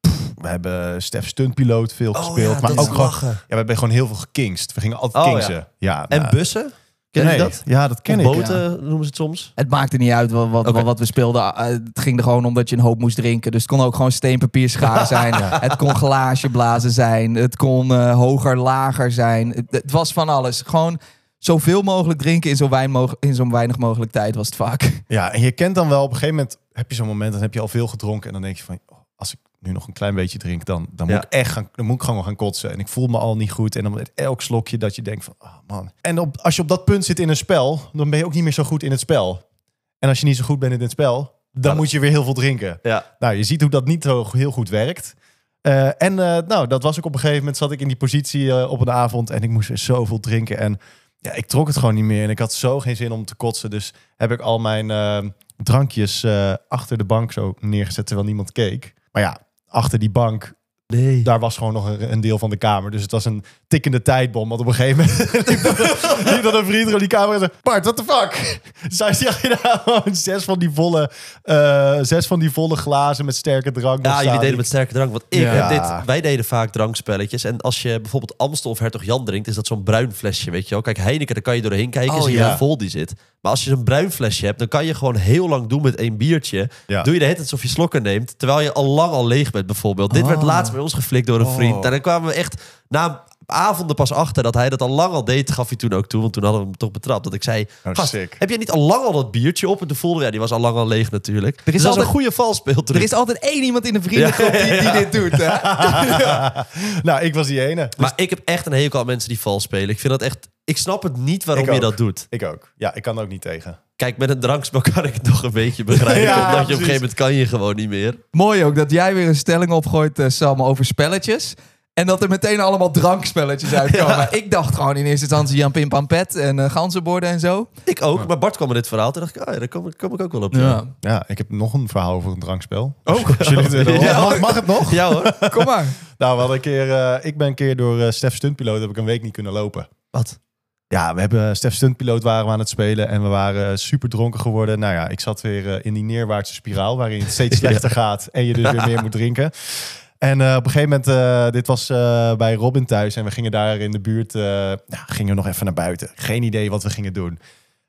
[SPEAKER 2] Pff, We hebben Stef Stuntpiloot veel
[SPEAKER 4] Oh,
[SPEAKER 2] gespeeld, maar ook gewoon, Oh, ja, we hebben gewoon heel veel gekingst. We gingen altijd
[SPEAKER 4] Oh,
[SPEAKER 2] kingsen. Ja.
[SPEAKER 4] En
[SPEAKER 2] nou,
[SPEAKER 4] bussen? Ken je
[SPEAKER 2] nee.
[SPEAKER 4] dat?
[SPEAKER 2] Ja, dat ken
[SPEAKER 4] Of
[SPEAKER 2] ik. ja.
[SPEAKER 4] boten noemen ze het soms.
[SPEAKER 1] Het maakte niet uit wat, wat,
[SPEAKER 4] Oké.
[SPEAKER 1] wat we speelden. Eh, het ging er gewoon om dat je een hoop moest drinken. Dus het kon ook gewoon steen, papier, schaar
[SPEAKER 2] (laughs)
[SPEAKER 1] zijn. Het kon glaasjeblazen zijn. Het kon eh, hoger, lager zijn. Het, het was van alles. Gewoon zoveel mogelijk drinken in zo, wijn mog- in zo weinig mogelijk tijd was het vaak.
[SPEAKER 2] Ja, en je kent dan wel op een gegeven moment heb je zo'n moment, dan heb je al veel gedronken en dan denk je van, oh, als ik nu nog een klein beetje drink, dan, dan moet
[SPEAKER 4] Ja.
[SPEAKER 2] ik echt gaan, dan moet ik gewoon gaan kotsen. En ik voel me al niet goed. En dan met elk slokje dat je denkt van, oh man. En op, als je op dat punt zit in een spel, dan ben je ook niet meer zo goed in het spel. En als je niet zo goed bent in het spel, dan moet je weer heel veel drinken.
[SPEAKER 4] Ja.
[SPEAKER 2] Nou, je ziet hoe dat niet zo heel goed werkt. Eh, en eh, nou, dat was ook op een gegeven moment zat ik in die positie eh, op een avond en ik moest weer zoveel drinken. En ja, ik trok het gewoon niet meer en ik had zo geen zin om te kotsen. Dus heb ik al mijn eh, drankjes eh, achter de bank zo neergezet terwijl niemand keek. Maar ja, achter die bank,
[SPEAKER 4] Nee.
[SPEAKER 2] daar was gewoon nog een, een deel van de kamer. Dus het was een tikkende tijdbom. Want op een gegeven moment (laughs) liep dan- liep dan een vriend door die kamer en zei... Bart, what the fuck? (laughs) Zij zag je daar gewoon zes van die volle, eh, zes van die volle glazen met sterke drank.
[SPEAKER 4] Ja,
[SPEAKER 2] nog
[SPEAKER 4] jullie
[SPEAKER 2] staan.
[SPEAKER 4] deden met sterke drank. Want ik
[SPEAKER 1] Ja.
[SPEAKER 4] heb dit, wij deden vaak drankspelletjes. En als je bijvoorbeeld Amstel of Hertog Jan drinkt, is dat zo'n bruin flesje, weet je wel. Kijk, Heineken, daar kan je doorheen kijken en
[SPEAKER 1] Oh,
[SPEAKER 4] zie je
[SPEAKER 2] ja.
[SPEAKER 4] hoe vol die zit. Maar als je zo'n bruin flesje hebt, dan kan je gewoon heel lang doen met één biertje.
[SPEAKER 2] Ja.
[SPEAKER 4] Doe je de hele tijd alsof je slokken neemt, terwijl je al lang al leeg bent bijvoorbeeld. Dit werd laatst bij ons geflikt door een vriend. En dan kwamen we echt na avonden pas achter dat hij dat al lang al deed. Gaf hij toen ook toe, want toen hadden we hem toch betrapt. Dat ik zei,
[SPEAKER 2] Oh,
[SPEAKER 4] gast,
[SPEAKER 2] sick.
[SPEAKER 4] heb je niet al lang al dat biertje op? En toen voelde we, ja, die was al lang al leeg natuurlijk. dus dat is
[SPEAKER 1] altijd-
[SPEAKER 4] een goede valspeeltruc.
[SPEAKER 1] Er is altijd één iemand in de vriendengroep die, die dit doet.
[SPEAKER 2] (laughs)
[SPEAKER 1] Hè?
[SPEAKER 2] Nou, ik was die ene.
[SPEAKER 4] Maar ik heb echt een hekel aan mensen die vals spelen. Ik vind dat echt. Ik snap het niet waarom
[SPEAKER 2] Ik
[SPEAKER 4] je
[SPEAKER 2] ook.
[SPEAKER 4] dat doet.
[SPEAKER 2] Ik ook. Ja, ik kan er ook niet tegen.
[SPEAKER 4] Kijk, met een drankspel (laughs) kan ik het nog een beetje begrijpen.
[SPEAKER 2] Ja,
[SPEAKER 4] omdat je op een
[SPEAKER 2] precies.
[SPEAKER 4] gegeven moment kan je gewoon niet meer.
[SPEAKER 1] Mooi ook dat jij weer een stelling opgooit, eh, Sam, over spelletjes. En dat er meteen allemaal drankspelletjes uitkomen. Ik dacht gewoon in eerste instantie Jan Pim Pam Pet en eh, ganzenborden en zo.
[SPEAKER 4] Ik ook. Maar Bart kwam met dit verhaal. Toen dacht ik, ah, ja, daar kom, ik- kom ik ook wel op.
[SPEAKER 1] Ja.
[SPEAKER 2] Ja, ik heb nog een verhaal over een drankspel. Oh,
[SPEAKER 4] (laughs)
[SPEAKER 2] mag, mag het nog?
[SPEAKER 4] Ja, hoor.
[SPEAKER 1] (laughs) Kom maar.
[SPEAKER 2] Nou, we hadden een keer, eh, ik ben een keer door eh, Stef Stuntpiloot heb ik een week niet kunnen lopen.
[SPEAKER 4] Wat?
[SPEAKER 2] Ja, we hebben eh, Stef Stuntpiloot waren we aan het spelen en we waren super dronken geworden. Nou ja, ik zat weer eh, in die neerwaartse spiraal waarin het steeds slechter gaat en je dus weer meer moet drinken. En eh, op een gegeven moment, eh, dit was eh, bij Robin thuis en we gingen daar in de buurt, eh, ja, gingen we nog even naar buiten. Geen idee wat we gingen doen.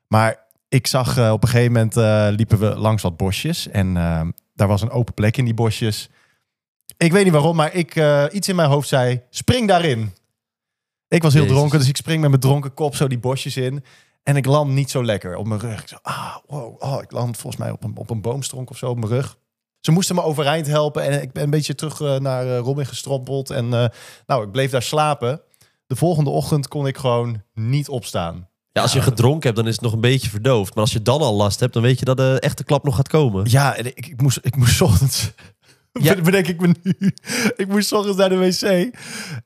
[SPEAKER 2] Maar ik zag eh, op een gegeven moment, eh, liepen we langs wat bosjes en eh, daar was een open plek in die bosjes. Ik weet niet waarom, maar ik, eh, iets in mijn hoofd zei, spring daarin. Ik was heel
[SPEAKER 4] Jezus.
[SPEAKER 2] dronken, dus ik spring met mijn dronken kop zo die bosjes in. En ik land niet zo lekker op mijn rug. Ik zo, ah, wow, oh, ik land volgens mij op een, op een boomstronk of zo op mijn rug. Ze moesten me overeind helpen en ik ben een beetje terug eh, naar eh, Robin gestrompeld. En eh, nou, ik bleef daar slapen. De volgende ochtend kon ik gewoon niet opstaan.
[SPEAKER 4] Ja, als je gedronken hebt, dan is het nog een beetje verdoofd. Maar als je dan al last hebt, dan weet je dat eh, de echte klap nog gaat komen.
[SPEAKER 2] Ja, en ik, ik moest, ik moest (laughs) ochtends.
[SPEAKER 1] Ja.
[SPEAKER 2] (laughs) Bedenk ik me nu. Ik moest ochtends naar de wc.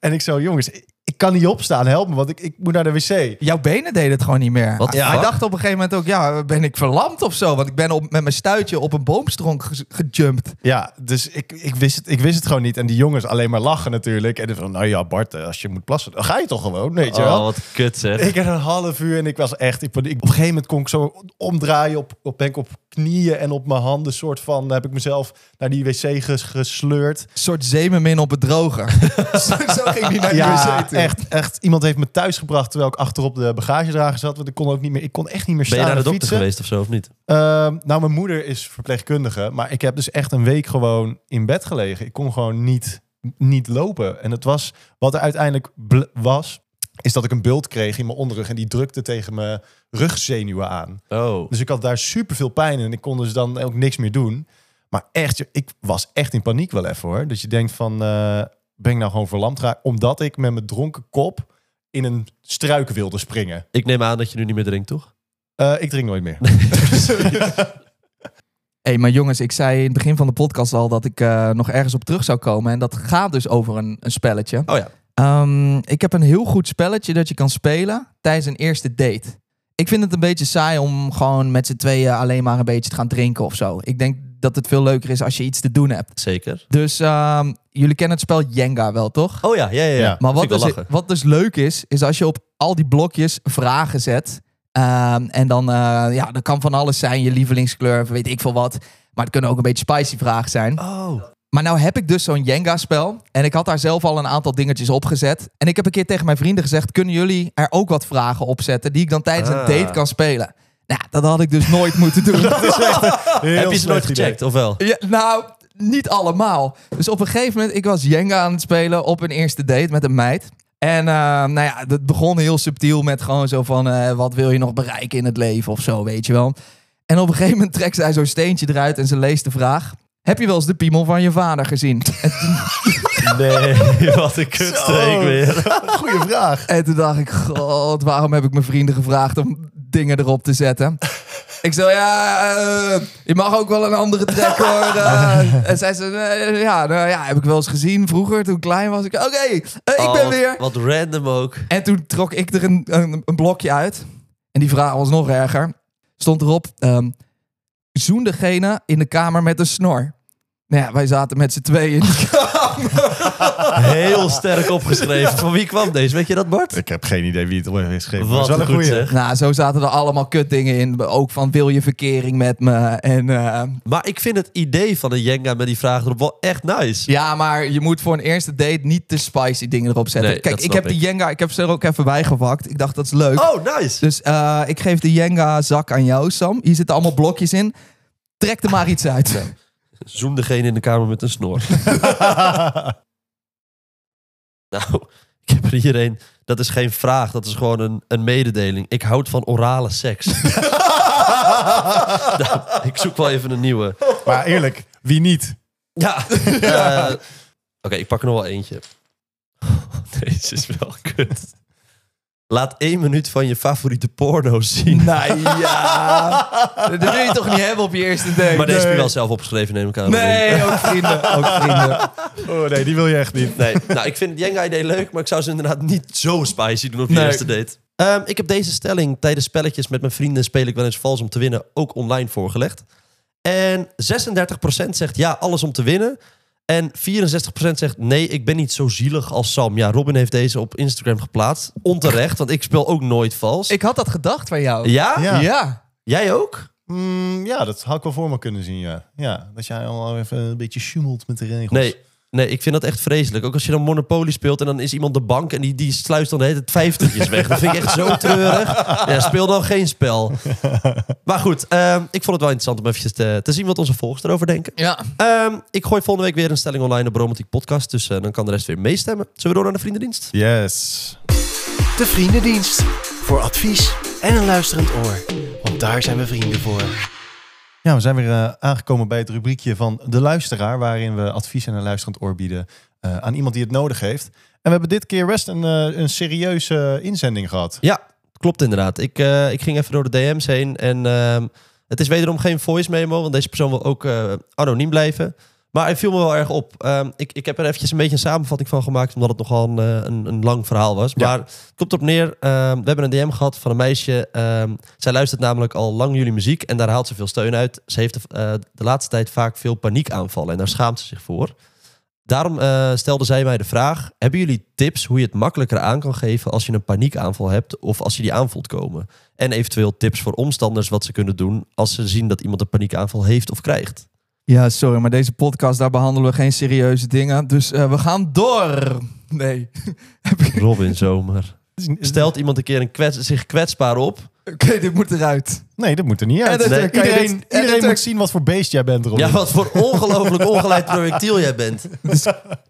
[SPEAKER 2] En ik zo, jongens, ik, ik kan niet opstaan, help me, want ik, ik moet naar de wc.
[SPEAKER 1] Jouw benen deden het gewoon niet meer.
[SPEAKER 4] Wat?
[SPEAKER 1] Hij
[SPEAKER 4] Ja.
[SPEAKER 1] dacht op een gegeven moment ook, ja, ben ik verlamd of zo? Want ik ben op, met mijn stuitje op een boomstronk ge- gejumpt.
[SPEAKER 2] Ja, dus ik, ik, wist het, ik wist het gewoon niet. En die jongens alleen maar lachen natuurlijk. En dan van, nou ja, Bart, eh, als je moet plassen, dan ga je toch gewoon, weet je
[SPEAKER 4] Oh,
[SPEAKER 2] wel.
[SPEAKER 4] wat kut zeg.
[SPEAKER 2] Ik had een half uur en ik was echt in paniek. Op een gegeven moment kon ik zo omdraaien. Op, op, ben ik op knieën en op mijn handen soort van... heb ik mezelf naar die wc ges- gesleurd.
[SPEAKER 1] Een soort zeemermin op het droge. (laughs) zo, zo (laughs) ging hij naar de wc
[SPEAKER 2] Ja,
[SPEAKER 1] toe.
[SPEAKER 2] echt, echt. Iemand heeft me thuis gebracht terwijl ik achterop de bagagedrager zat. Want ik kon ook niet meer. Ik kon echt niet meer
[SPEAKER 4] ben
[SPEAKER 2] staan.
[SPEAKER 4] je naar de
[SPEAKER 2] en
[SPEAKER 4] dokter
[SPEAKER 2] fietsen.
[SPEAKER 4] geweest of zo, of niet?
[SPEAKER 2] Ehm, nou, mijn moeder is verpleegkundige. Maar ik heb dus echt een week gewoon in bed gelegen. Ik kon gewoon niet, niet lopen. En het was wat er uiteindelijk bl- was. Is dat ik een bult kreeg in mijn onderrug. En die drukte tegen mijn rugzenuwen aan.
[SPEAKER 4] Oh.
[SPEAKER 2] Dus ik had daar super veel pijn in. En ik kon dus dan ook niks meer doen. Maar echt, joh, ik was echt in paniek wel even hoor. Dus je denkt van, eh, ben ik nou gewoon verlamd geraakt? Omdat ik met mijn dronken kop in een struik wilde springen.
[SPEAKER 4] Ik neem aan dat je nu niet meer drinkt, toch?
[SPEAKER 2] Eh, ik drink nooit
[SPEAKER 4] (laughs)
[SPEAKER 2] meer.
[SPEAKER 1] Hé, hey, maar jongens, ik zei in het begin van de podcast al dat ik eh, nog ergens op terug zou komen. En dat gaat dus over een, een spelletje.
[SPEAKER 4] Oh ja.
[SPEAKER 1] Ehm, ik heb een heel goed spelletje dat je kan spelen tijdens een eerste date. ik vind het een beetje saai om gewoon met z'n tweeën alleen maar een beetje te gaan drinken of zo. Ik denk dat het veel leuker is als je iets te doen hebt.
[SPEAKER 4] Zeker.
[SPEAKER 1] Dus ehm, jullie kennen het spel Jenga wel, toch?
[SPEAKER 4] Oh ja, ja, ja. ja.
[SPEAKER 2] Ja.
[SPEAKER 1] Maar wat
[SPEAKER 4] Vind ik wel
[SPEAKER 1] dus,
[SPEAKER 4] lachen.
[SPEAKER 1] wat dus leuk is, is als je op al die blokjes vragen zet. ehm, en dan, eh, ja, dat kan van alles zijn. Je lievelingskleur, weet ik veel wat. Maar het kunnen ook een beetje spicy vragen zijn.
[SPEAKER 4] Oh.
[SPEAKER 1] Maar nou heb ik dus zo'n Jenga-spel. En ik had daar zelf al een aantal dingetjes opgezet. En ik heb een keer tegen mijn vrienden gezegd... kunnen jullie er ook wat vragen opzetten... die ik dan tijdens
[SPEAKER 4] Ah.
[SPEAKER 1] een date kan spelen? Nou, dat had ik dus nooit moeten
[SPEAKER 4] (laughs)
[SPEAKER 1] doen.
[SPEAKER 4] Heb je ze nooit gecheckt, of wel?
[SPEAKER 1] Ja, nou, niet allemaal. Dus op een gegeven moment, ik was Jenga aan het spelen op een eerste date met een meid. En eh, nou ja, dat begon heel subtiel met gewoon zo van, eh, wat wil je nog bereiken in het leven of zo, weet je wel. En op een gegeven moment trekt zij zo'n steentje eruit en ze leest de vraag. Heb je wel eens de piemel van je vader gezien? En toen,
[SPEAKER 4] Nee, (laughs) wat een kutstreek
[SPEAKER 2] Zo.
[SPEAKER 4] weer.
[SPEAKER 2] Goeie vraag.
[SPEAKER 1] en toen dacht ik, god, waarom heb ik mijn vrienden gevraagd om dingen erop te zetten? Ik zei, ja, eh, je mag ook wel een andere trek hoor. Eh, en zij zei, eh, ja, nou ja, heb ik wel eens gezien vroeger toen ik klein was. Ik, oké, eh, ik ben
[SPEAKER 4] Oh,
[SPEAKER 1] weer.
[SPEAKER 4] Wat random ook.
[SPEAKER 1] En toen trok ik er een, een, een blokje uit. En die vraag was nog erger. Stond erop, ehm, zoen degene in de kamer met een snor. Nou ja, wij zaten met z'n tweeën.
[SPEAKER 4] Heel sterk opgeschreven. Van wie kwam deze? Weet je dat, Bart?
[SPEAKER 2] Ik heb geen idee wie het ooit heeft geschreven. maar
[SPEAKER 4] Wat
[SPEAKER 2] het
[SPEAKER 4] een
[SPEAKER 2] is wel
[SPEAKER 4] goed
[SPEAKER 2] goeie.
[SPEAKER 4] zeg.
[SPEAKER 1] nou, zo zaten er allemaal kutdingen in. Ook van, wil je verkering met me? En eh,
[SPEAKER 4] Maar ik vind het idee van een Jenga met die vraag erop wel echt nice.
[SPEAKER 1] Ja, maar je moet voor een eerste date niet te spicy dingen erop zetten.
[SPEAKER 4] Nee,
[SPEAKER 1] Kijk,
[SPEAKER 4] dat
[SPEAKER 1] ik
[SPEAKER 4] snap
[SPEAKER 1] heb die Jenga, ik heb ze er ook even bij gepakt. Ik dacht, dat is leuk.
[SPEAKER 4] Oh, nice.
[SPEAKER 1] Dus eh, ik geef de Jenga zak aan jou, Sam. Hier zitten allemaal blokjes in. Trek er maar iets (laughs) uit.
[SPEAKER 4] Zoem degene in de kamer met een
[SPEAKER 2] (laughs)
[SPEAKER 4] snor. nou, ik heb er hier een. Dat is geen vraag, dat is gewoon een, een mededeling. Ik houd van orale seks.
[SPEAKER 2] (laughs)
[SPEAKER 4] Nou, ik zoek wel even een nieuwe.
[SPEAKER 2] Maar eerlijk, wie niet?
[SPEAKER 4] (laughs) Ja. eh, Oké, ik pak er nog wel eentje. (laughs) Deze is wel kut. Laat één minuut van je favoriete porno zien.
[SPEAKER 1] nou ja, dat wil je toch niet hebben op je eerste date?
[SPEAKER 4] Maar deze heb je wel zelf opgeschreven, neem ik aan.
[SPEAKER 1] Nee, ook vrienden. Ook
[SPEAKER 4] (laughs)
[SPEAKER 1] vrienden.
[SPEAKER 2] Oh nee, die wil je echt niet.
[SPEAKER 4] Nee, nou, ik vind het Jenga-idee leuk, maar ik zou ze inderdaad niet zo spicy doen op je
[SPEAKER 1] Nee.
[SPEAKER 4] eerste date. Ehm, ik heb deze stelling tijdens spelletjes met mijn vrienden speel ik wel eens vals om te winnen ook online voorgelegd. En 36% zegt ja, alles om te winnen. En 64% zegt nee, ik ben niet zo zielig als Sam. Ja, Robin heeft deze op Instagram geplaatst. Onterecht, want ik speel ook nooit vals.
[SPEAKER 1] Ik had dat gedacht van jou.
[SPEAKER 4] Ja?
[SPEAKER 2] Ja.
[SPEAKER 1] ja.
[SPEAKER 4] Jij ook?
[SPEAKER 2] Mm, ja, dat had ik wel voor me kunnen zien, ja. ja dat jij al even een beetje schummelt met de regels.
[SPEAKER 4] Nee. Nee, ik vind dat echt vreselijk. Ook als je dan Monopoly speelt en dan is iemand de bank... en die, die sluist dan de hele tijd vijftigjes weg. Dat vind ik echt zo treurig. Ja, speel dan geen spel. Maar goed, ehm, ik vond het wel interessant om eventjes te, te zien... wat onze volgers erover denken.
[SPEAKER 1] Ja.
[SPEAKER 4] Ehm, ik gooi volgende week weer een stelling online op Romantiek Podcast... dus eh, dan kan de rest weer meestemmen. Zullen we door naar de vriendendienst?
[SPEAKER 2] Yes.
[SPEAKER 5] De Vriendendienst. Voor advies en een luisterend oor. Want daar zijn we vrienden voor.
[SPEAKER 2] Ja, we zijn weer eh, aangekomen bij het rubriekje van de luisteraar... waarin we advies en een luisterend oor bieden eh, aan iemand die het nodig heeft. En we hebben dit keer best een, eh, een serieuze eh, inzending gehad.
[SPEAKER 4] Ja, klopt inderdaad. Ik, eh, ik ging even door de DM's heen en ehm, het is wederom geen voice memo, want deze persoon wil ook eh, anoniem blijven. Maar hij viel me wel erg op. Ehm, ik, ik heb er eventjes een beetje een samenvatting van gemaakt, omdat het nogal een, eh, een, een lang verhaal was.
[SPEAKER 2] Ja.
[SPEAKER 4] Maar het komt erop neer, ehm, we hebben een DM gehad van een meisje. ehm, zij luistert namelijk al lang jullie muziek en daar haalt ze veel steun uit. Ze heeft de, eh, de laatste tijd vaak veel paniekaanvallen en daar schaamt ze zich voor. Daarom eh, stelde zij mij de vraag: Hebben jullie tips hoe je het makkelijker aan kan geven als je een paniekaanval hebt of als je die aanvoelt komen? En eventueel tips voor omstanders wat ze kunnen doen als ze zien dat iemand een paniekaanval heeft of krijgt.
[SPEAKER 1] Ja, sorry, maar deze podcast, daar behandelen we geen serieuze dingen. Dus eh, we gaan door. Nee.
[SPEAKER 4] (laughs) Robin Zomer. Stelt iemand een keer een kwets- zich kwetsbaar op?
[SPEAKER 1] Oké, dit moet eruit.
[SPEAKER 2] Nee, dat moet er niet uit.
[SPEAKER 1] Editor,
[SPEAKER 2] Nee.
[SPEAKER 1] kan je
[SPEAKER 2] Iedereen,
[SPEAKER 1] dit-
[SPEAKER 2] iedereen
[SPEAKER 1] editor-
[SPEAKER 2] moet zien wat voor beest jij bent, Robin.
[SPEAKER 4] Ja, wat voor ongelooflijk ongeleid projectiel jij bent.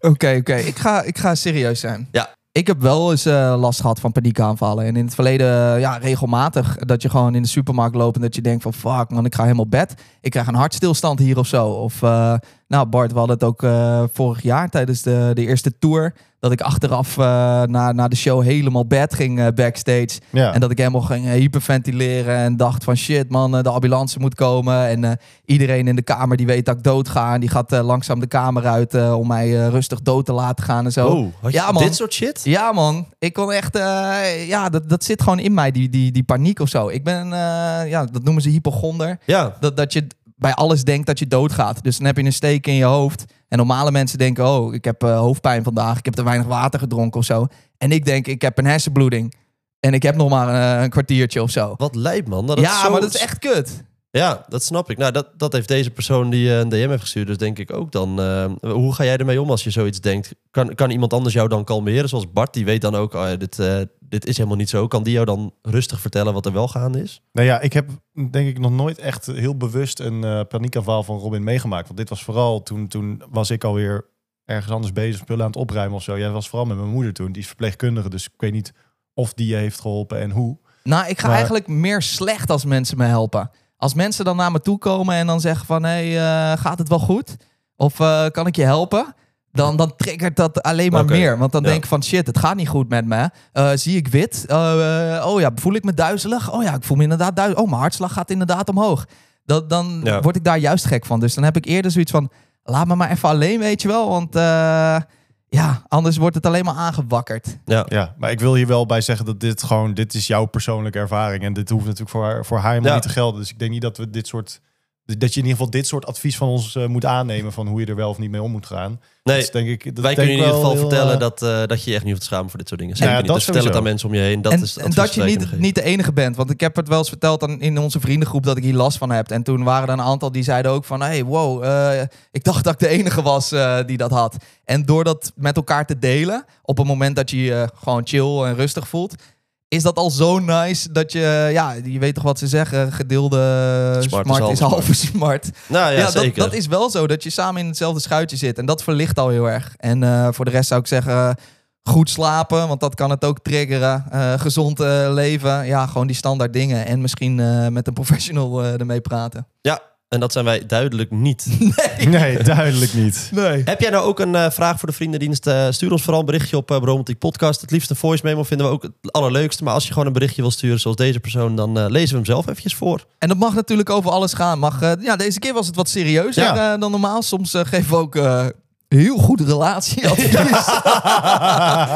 [SPEAKER 1] Oké, oké. Ik, ga, ik ga serieus zijn.
[SPEAKER 4] Ja.
[SPEAKER 1] Ik heb wel eens eh, last gehad van paniekaanvallen. En in het verleden, eh, ja, regelmatig. Dat je gewoon in de supermarkt loopt en dat je denkt van... Fuck man, ik ga helemaal bed. Ik krijg een hartstilstand hier of zo. Of, eh, nou Bart, we hadden het ook eh, vorig jaar tijdens de, de eerste tour. Dat ik achteraf eh, na, na de show helemaal bed ging eh, backstage.
[SPEAKER 2] Ja.
[SPEAKER 1] En dat ik helemaal ging eh, hyperventileren en dacht van shit man, eh, de ambulance moet komen. En eh, iedereen in de kamer die weet dat ik dood ga. En die gaat eh, langzaam de kamer uit eh, om mij eh, rustig dood te laten gaan en zo.
[SPEAKER 4] Oh, had je
[SPEAKER 1] ja, man.
[SPEAKER 4] dit soort shit?
[SPEAKER 1] Ja, man. Ik kon echt... eh, ja, dat, dat zit gewoon in mij, die, die, die paniek of zo. Ik ben... eh, ja, dat noemen ze hypochonder.
[SPEAKER 4] Ja.
[SPEAKER 1] Dat, dat je bij alles denkt dat je doodgaat. Dus dan heb je een steek in je hoofd. En normale mensen denken... Oh, ik heb eh, hoofdpijn vandaag. Ik heb te weinig water gedronken of zo. En ik denk, ik heb een hersenbloeding. En ik heb nog maar eh, een kwartiertje of zo.
[SPEAKER 4] Wat lijp, man. Dat het
[SPEAKER 1] ja,
[SPEAKER 4] zo-
[SPEAKER 1] maar dat is echt kut.
[SPEAKER 4] Ja, dat snap ik. Nou, dat, dat heeft deze persoon die eh, een DM heeft gestuurd, dus denk ik ook dan. eh, hoe ga jij ermee om als je zoiets denkt? Kan, kan iemand anders jou dan kalmeren? Zoals Bart, die weet dan ook, oh ja, dit, eh, dit is helemaal niet zo. Kan die jou dan rustig vertellen wat er wel gaande is?
[SPEAKER 2] Nou ja, ik heb denk ik nog nooit echt heel bewust een eh paniekaanval van Robin meegemaakt. Want dit was vooral toen, toen was ik alweer ergens anders bezig, spullen aan het opruimen of zo. Jij was vooral met mijn moeder toen, die is verpleegkundige. Dus ik weet niet of die je heeft geholpen en hoe.
[SPEAKER 1] Nou, ik ga
[SPEAKER 2] Maar-
[SPEAKER 1] eigenlijk meer slecht als mensen me helpen. Als mensen dan naar me toe komen en dan zeggen van... hé, hey, eh, gaat het wel goed? Of eh, kan ik je helpen? Dan, dan triggert dat alleen maar
[SPEAKER 4] Oké,
[SPEAKER 1] meer. Want dan
[SPEAKER 4] ja.
[SPEAKER 1] denk ik van shit, het gaat niet goed met me. Eh, zie ik wit? Eh, eh, oh ja, voel ik me duizelig? Oh ja, ik voel me inderdaad duizelig. Oh, mijn hartslag gaat inderdaad omhoog. Dat, dan
[SPEAKER 4] Ja.
[SPEAKER 1] word ik daar juist gek van. Dus dan heb ik eerder zoiets van... laat me maar even alleen, weet je wel. Want eh, ja, anders wordt het alleen maar aangewakkerd.
[SPEAKER 4] Ja.
[SPEAKER 2] Ja, maar ik wil hier wel bij zeggen dat dit gewoon, dit is jouw persoonlijke ervaring. En dit hoeft natuurlijk voor haar, voor haar helemaal
[SPEAKER 4] Ja.
[SPEAKER 2] niet te gelden. Dus ik denk niet dat we dit soort, dat je in ieder geval dit soort advies van ons eh, moet aannemen. Van hoe je er wel of niet mee om moet gaan.
[SPEAKER 4] Nee,
[SPEAKER 2] Dat is denk ik, dat
[SPEAKER 4] wij
[SPEAKER 2] denk ik
[SPEAKER 4] kunnen in ieder
[SPEAKER 2] wel
[SPEAKER 4] geval
[SPEAKER 2] heel,
[SPEAKER 4] vertellen
[SPEAKER 2] eh,
[SPEAKER 4] dat, eh, dat je je echt niet hoeft te schamen voor dit soort dingen.
[SPEAKER 2] Nou ja,
[SPEAKER 4] Zeker niet.
[SPEAKER 2] dat
[SPEAKER 4] Dus vertel het aan
[SPEAKER 2] sowieso.
[SPEAKER 4] mensen om je heen. Dat
[SPEAKER 1] en,
[SPEAKER 4] is het
[SPEAKER 1] en dat
[SPEAKER 4] advies
[SPEAKER 1] je
[SPEAKER 4] dat wij kunnen
[SPEAKER 1] niet,
[SPEAKER 4] geven.
[SPEAKER 1] niet de enige bent. Want ik heb het wel eens verteld aan, in onze vriendengroep dat ik hier last van heb. En toen waren er een aantal die zeiden ook van... hey, wow, eh, ik dacht dat ik de enige was eh, die dat had. En door dat met elkaar te delen... op het moment dat je je gewoon chill en rustig voelt... is dat al zo nice dat je... Ja, je weet toch wat ze zeggen. Gedeelde smart,
[SPEAKER 4] halve
[SPEAKER 1] is
[SPEAKER 4] smart.
[SPEAKER 1] halve smart.
[SPEAKER 4] Nou ja,
[SPEAKER 1] Ja, dat,
[SPEAKER 4] zeker.
[SPEAKER 1] dat is wel zo. Dat je samen in hetzelfde schuitje zit. En dat verlicht al heel erg. En eh, voor de rest zou ik zeggen... eh, Goed slapen, want dat kan het ook triggeren. Eh, gezond eh, leven. Ja, gewoon die standaard dingen. En misschien eh, met een professional eh, ermee praten.
[SPEAKER 4] Ja, en dat zijn wij duidelijk niet.
[SPEAKER 2] (laughs) Nee, duidelijk niet.
[SPEAKER 1] Nee.
[SPEAKER 4] Heb jij nou ook een eh, vraag voor de vriendendienst? Eh, stuur ons vooral een berichtje op eh Romantiek Podcast. Het liefst een voice memo vinden we ook het allerleukste. Maar als je gewoon een berichtje wil sturen zoals deze persoon, dan eh, lezen we hem zelf eventjes voor.
[SPEAKER 1] En dat mag natuurlijk over alles gaan. Mag, eh, ja, deze keer was het wat serieuzer
[SPEAKER 2] Ja.
[SPEAKER 1] eh, dan normaal. Soms eh, geven we ook eh, heel goed relatieadvies. (laughs)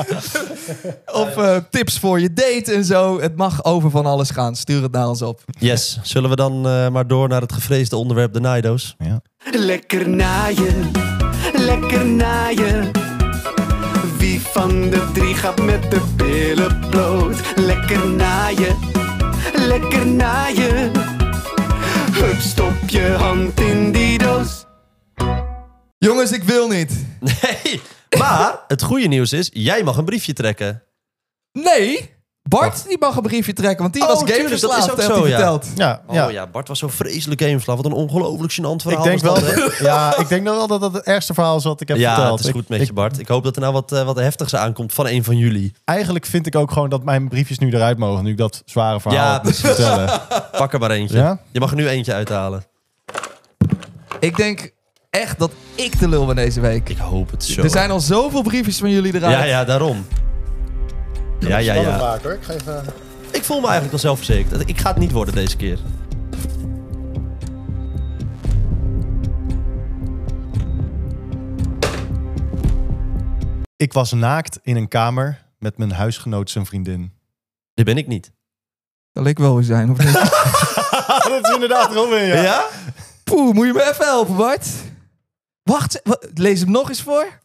[SPEAKER 1] of eh, tips voor je date en zo. Het mag over van alles gaan. Stuur het naar ons op.
[SPEAKER 4] Yes, zullen we dan eh, maar door naar het gevreesde onderwerp de Naido's?
[SPEAKER 2] Ja.
[SPEAKER 3] Lekker naaien, lekker naaien. Wie van de drie gaat met de billen bloot? Lekker naaien, lekker naaien. Hup, stop je hand in die doos.
[SPEAKER 1] Jongens, ik wil niet.
[SPEAKER 4] (laughs) Nee, maar het goede nieuws is, jij mag een briefje trekken.
[SPEAKER 1] Nee, Bart die mag een briefje trekken, want die was
[SPEAKER 4] Oh,
[SPEAKER 1] dus
[SPEAKER 4] tuurlijk, dat is
[SPEAKER 1] gameverslaafd,
[SPEAKER 4] ook
[SPEAKER 1] heeft
[SPEAKER 4] zo,
[SPEAKER 1] hij
[SPEAKER 4] ja.
[SPEAKER 1] verteld.
[SPEAKER 2] Ja,
[SPEAKER 4] Oh ja, Bart was zo vreselijk gameverslaafd. Wat een ongelooflijk gênant verhaal
[SPEAKER 2] Ik denk,
[SPEAKER 4] was
[SPEAKER 2] wel,
[SPEAKER 4] dat, hè?
[SPEAKER 2] dat- ja, ik denk wel dat dat het ergste verhaal is wat ik heb
[SPEAKER 4] Ja,
[SPEAKER 2] verteld.
[SPEAKER 4] het is goed
[SPEAKER 2] Ik-
[SPEAKER 4] met
[SPEAKER 2] ik-
[SPEAKER 4] je, Bart. Ik hoop dat er nou wat, eh, wat heftigs aankomt van een van jullie.
[SPEAKER 2] Eigenlijk vind ik ook gewoon dat mijn briefjes nu eruit mogen. Nu ik dat zware verhaal
[SPEAKER 4] Ja,
[SPEAKER 2] moet
[SPEAKER 4] precies.
[SPEAKER 2] vertellen.
[SPEAKER 4] Pak er maar eentje.
[SPEAKER 2] Ja?
[SPEAKER 4] Je mag er nu eentje uithalen.
[SPEAKER 1] Ik denk echt dat ik de lul ben deze week.
[SPEAKER 4] Ik hoop het zo.
[SPEAKER 1] Er zijn al zoveel briefjes van jullie eruit.
[SPEAKER 4] Ja, ja, daarom. Ja, ja, ja.
[SPEAKER 2] Ik ga
[SPEAKER 4] eh,
[SPEAKER 2] even...
[SPEAKER 4] Ik voel me eigenlijk wel zelfverzekerd. Ik ga het niet worden deze keer.
[SPEAKER 2] Ik was naakt in een kamer met mijn huisgenoot zijn vriendin.
[SPEAKER 4] Dit ben ik niet.
[SPEAKER 1] Zal ik wel weer zijn, of
[SPEAKER 4] (laughs)
[SPEAKER 1] niet?
[SPEAKER 2] (laughs) dat is inderdaad Robin, ja.
[SPEAKER 1] Poeh, moet je me even helpen, Bart? Wacht, wa- lees hem nog eens voor.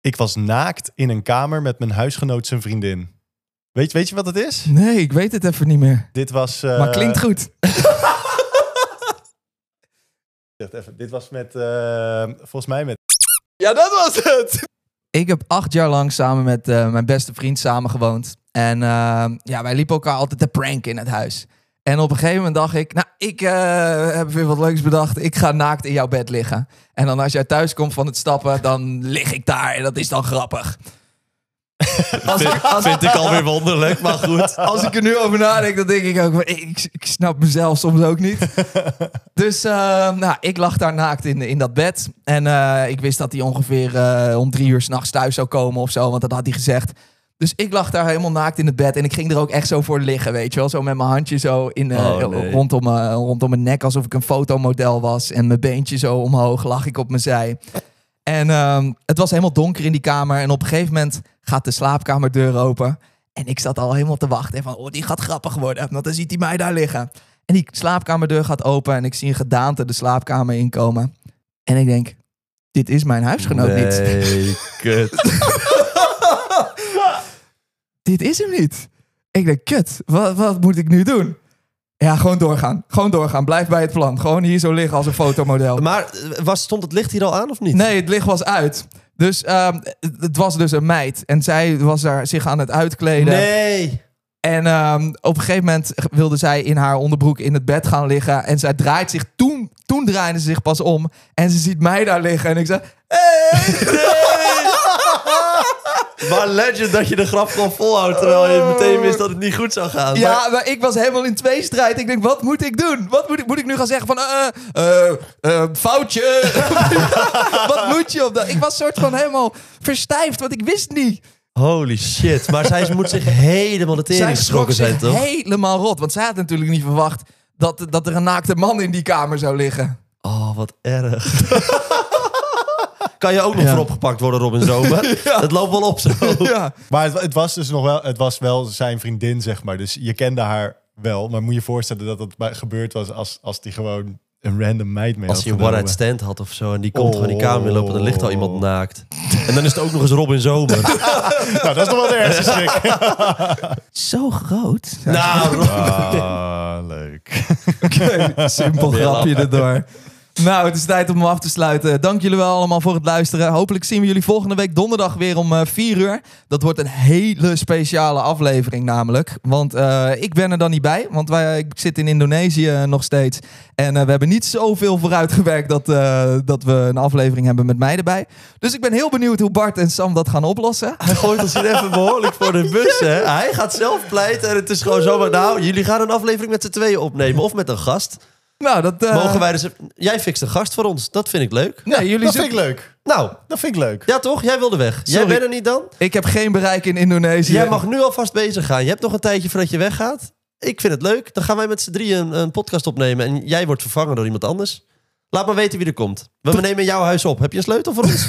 [SPEAKER 2] Ik was naakt in een kamer met mijn huisgenoot zijn vriendin. Weet, weet je wat het is?
[SPEAKER 1] Nee, ik weet het even niet meer.
[SPEAKER 2] Dit was... eh,
[SPEAKER 1] Maar klinkt
[SPEAKER 4] (laughs)
[SPEAKER 1] goed.
[SPEAKER 2] wacht even, dit was met... eh, volgens mij met...
[SPEAKER 1] Ja, dat was het. Ik heb acht jaar lang samen met eh, mijn beste vriend samengewoond. En eh, ja, wij liepen elkaar altijd te pranken in het huis. En op een gegeven moment dacht ik, nou, ik eh, heb weer wat leuks bedacht. Ik ga naakt in jouw bed liggen. En dan als jij thuis komt van het stappen, dan lig ik daar. En dat is dan grappig. Als ik, als,
[SPEAKER 4] Vind ik alweer wonderlijk, maar goed. (laughs)
[SPEAKER 1] (laughs) als ik er nu over nadenk, dan denk ik ook... maar Ik, ik snap mezelf soms ook
[SPEAKER 4] (laughs)
[SPEAKER 1] niet. Dus eh, nou, ik lag daar naakt in, in dat bed. En eh, ik wist dat hij ongeveer eh, om drie uur s'nachts thuis zou komen of zo. Want dat had hij gezegd. Dus ik lag daar helemaal naakt in het bed. En ik ging er ook echt zo voor liggen, weet je wel. Zo met mijn handje zo in, eh,
[SPEAKER 4] Oh, nee.
[SPEAKER 1] rondom, mijn- rondom mijn nek. Alsof ik een fotomodel was. En mijn beentje zo omhoog lag ik op mijn zij. En ehm, het was helemaal donker in die kamer. En op een gegeven moment gaat de slaapkamerdeur open. En ik zat al helemaal te wachten. En van, oh, die gaat grappig worden. Want dan ziet hij mij daar liggen. En die slaapkamerdeur gaat open. En ik zie een gedaante de slaapkamer inkomen. En ik denk, dit is mijn huisgenoot niet.
[SPEAKER 4] Nee, kut.
[SPEAKER 1] Dit is hem niet. Ik denk, kut, wat, wat moet ik nu doen? Ja, gewoon doorgaan. Gewoon doorgaan. Blijf bij het plan. Gewoon hier zo liggen als een fotomodel.
[SPEAKER 4] Maar eh, was, stond het licht hier al aan of niet?
[SPEAKER 1] Nee, het licht was uit. Dus ehm, het- het was dus een meid. En zij was daar zich aan het uitkleden.
[SPEAKER 4] Nee.
[SPEAKER 1] En ehm, op een gegeven moment wilde zij in haar onderbroek in het bed gaan liggen. En zij draait zich toen, toen draaide ze zich pas om. En ze ziet mij daar liggen. En ik zeg,
[SPEAKER 4] (laughs)
[SPEAKER 1] hey!
[SPEAKER 4] Maar legend dat je de grap gewoon volhoudt, terwijl je meteen wist dat het niet goed zou gaan. Maar-
[SPEAKER 1] ja, maar ik was helemaal in tweestrijd. Ik denk, wat moet ik doen? Wat moet ik, moet ik nu gaan zeggen van, eh, eh, eh,
[SPEAKER 4] (laughs)
[SPEAKER 1] foutje? wat moet je op dat? Ik was soort van helemaal verstijfd, want ik wist niet.
[SPEAKER 4] Holy shit. Maar zij moet zich helemaal de tering
[SPEAKER 1] Zij schrok
[SPEAKER 4] geschrokken
[SPEAKER 1] zich
[SPEAKER 4] zijn, toch?
[SPEAKER 1] helemaal rot. Want zij had natuurlijk niet verwacht dat, dat er een naakte man in die kamer zou liggen.
[SPEAKER 4] Oh, wat erg. (laughs) kan je ook nog
[SPEAKER 1] Ja.
[SPEAKER 4] voor opgepakt worden, Robin
[SPEAKER 1] (laughs)
[SPEAKER 4] Zomer? Het loopt wel op zo.
[SPEAKER 1] Ja.
[SPEAKER 2] Maar het, het was dus nog wel, het was wel zijn vriendin, zeg maar. Dus je kende haar wel. Maar moet je voorstellen dat dat maar gebeurd was als, als die gewoon een random meid mee
[SPEAKER 4] Als
[SPEAKER 2] had
[SPEAKER 4] je een
[SPEAKER 2] genomen.
[SPEAKER 4] one-night stand had of zo en die komt
[SPEAKER 2] Oh.
[SPEAKER 4] gewoon die kamer in lopen, dan ligt al
[SPEAKER 1] Oh.
[SPEAKER 4] iemand naakt. En dan is het ook nog eens Robin
[SPEAKER 1] (laughs)
[SPEAKER 4] Zomer.
[SPEAKER 2] Nou, dat is nog wel de ergste schrik.
[SPEAKER 1] Zo groot.
[SPEAKER 4] nou, Rob-
[SPEAKER 2] Ah, (laughs) leuk.
[SPEAKER 1] Oké, simpel grapje erdoor. Nou, het is tijd om hem af te sluiten. Dank jullie wel allemaal voor het luisteren. Hopelijk zien we jullie volgende week donderdag weer om eh 4 uur. Dat wordt een hele speciale aflevering namelijk. Want eh, ik ben er dan niet bij, want wij, ik zit in Indonesië eh, nog steeds. En eh, we hebben niet zoveel vooruitgewerkt dat, eh, dat we een aflevering hebben met mij erbij. Dus ik ben heel benieuwd hoe Bart en Sam dat gaan oplossen.
[SPEAKER 4] hij gooit ons hier even behoorlijk voor de bus, hè? Hij gaat zelf pleiten en het is gewoon zomaar... Nou, jullie gaan een aflevering met z'n tweeën opnemen of met een gast.
[SPEAKER 1] Nou, dat... eh,
[SPEAKER 4] Mogen wij dus... Jij fixt een gast voor ons. Dat vind ik leuk.
[SPEAKER 1] Nee, jullie
[SPEAKER 2] Dat
[SPEAKER 1] zoeken-
[SPEAKER 2] vind ik leuk.
[SPEAKER 4] Nou,
[SPEAKER 2] Dat vind ik leuk.
[SPEAKER 4] ja toch? Jij wilde weg. Jij
[SPEAKER 1] Sorry.
[SPEAKER 4] bent er niet dan?
[SPEAKER 1] Ik heb geen bereik in Indonesië.
[SPEAKER 4] Jij mag nu alvast bezig gaan. Je hebt nog een tijdje voordat je weggaat. Ik vind het leuk. Dan gaan wij met z'n drieën een, een podcast opnemen. En jij wordt vervangen door iemand anders. Laat maar weten wie er komt. We nemen jouw huis op. Heb je een sleutel voor ons?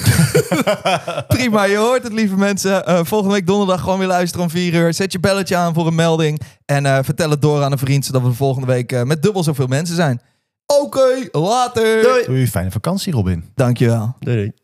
[SPEAKER 1] Prima, je hoort het, lieve mensen. Eh, volgende week donderdag gewoon weer luisteren om 4 uur. Zet je belletje aan voor een melding. En eh, vertel het door aan een vriend, zodat we volgende week eh, met dubbel zoveel mensen zijn. Oké, later.
[SPEAKER 4] Doei.
[SPEAKER 2] Doei, fijne vakantie, Robin.
[SPEAKER 1] Dankjewel.
[SPEAKER 4] Doei. doei.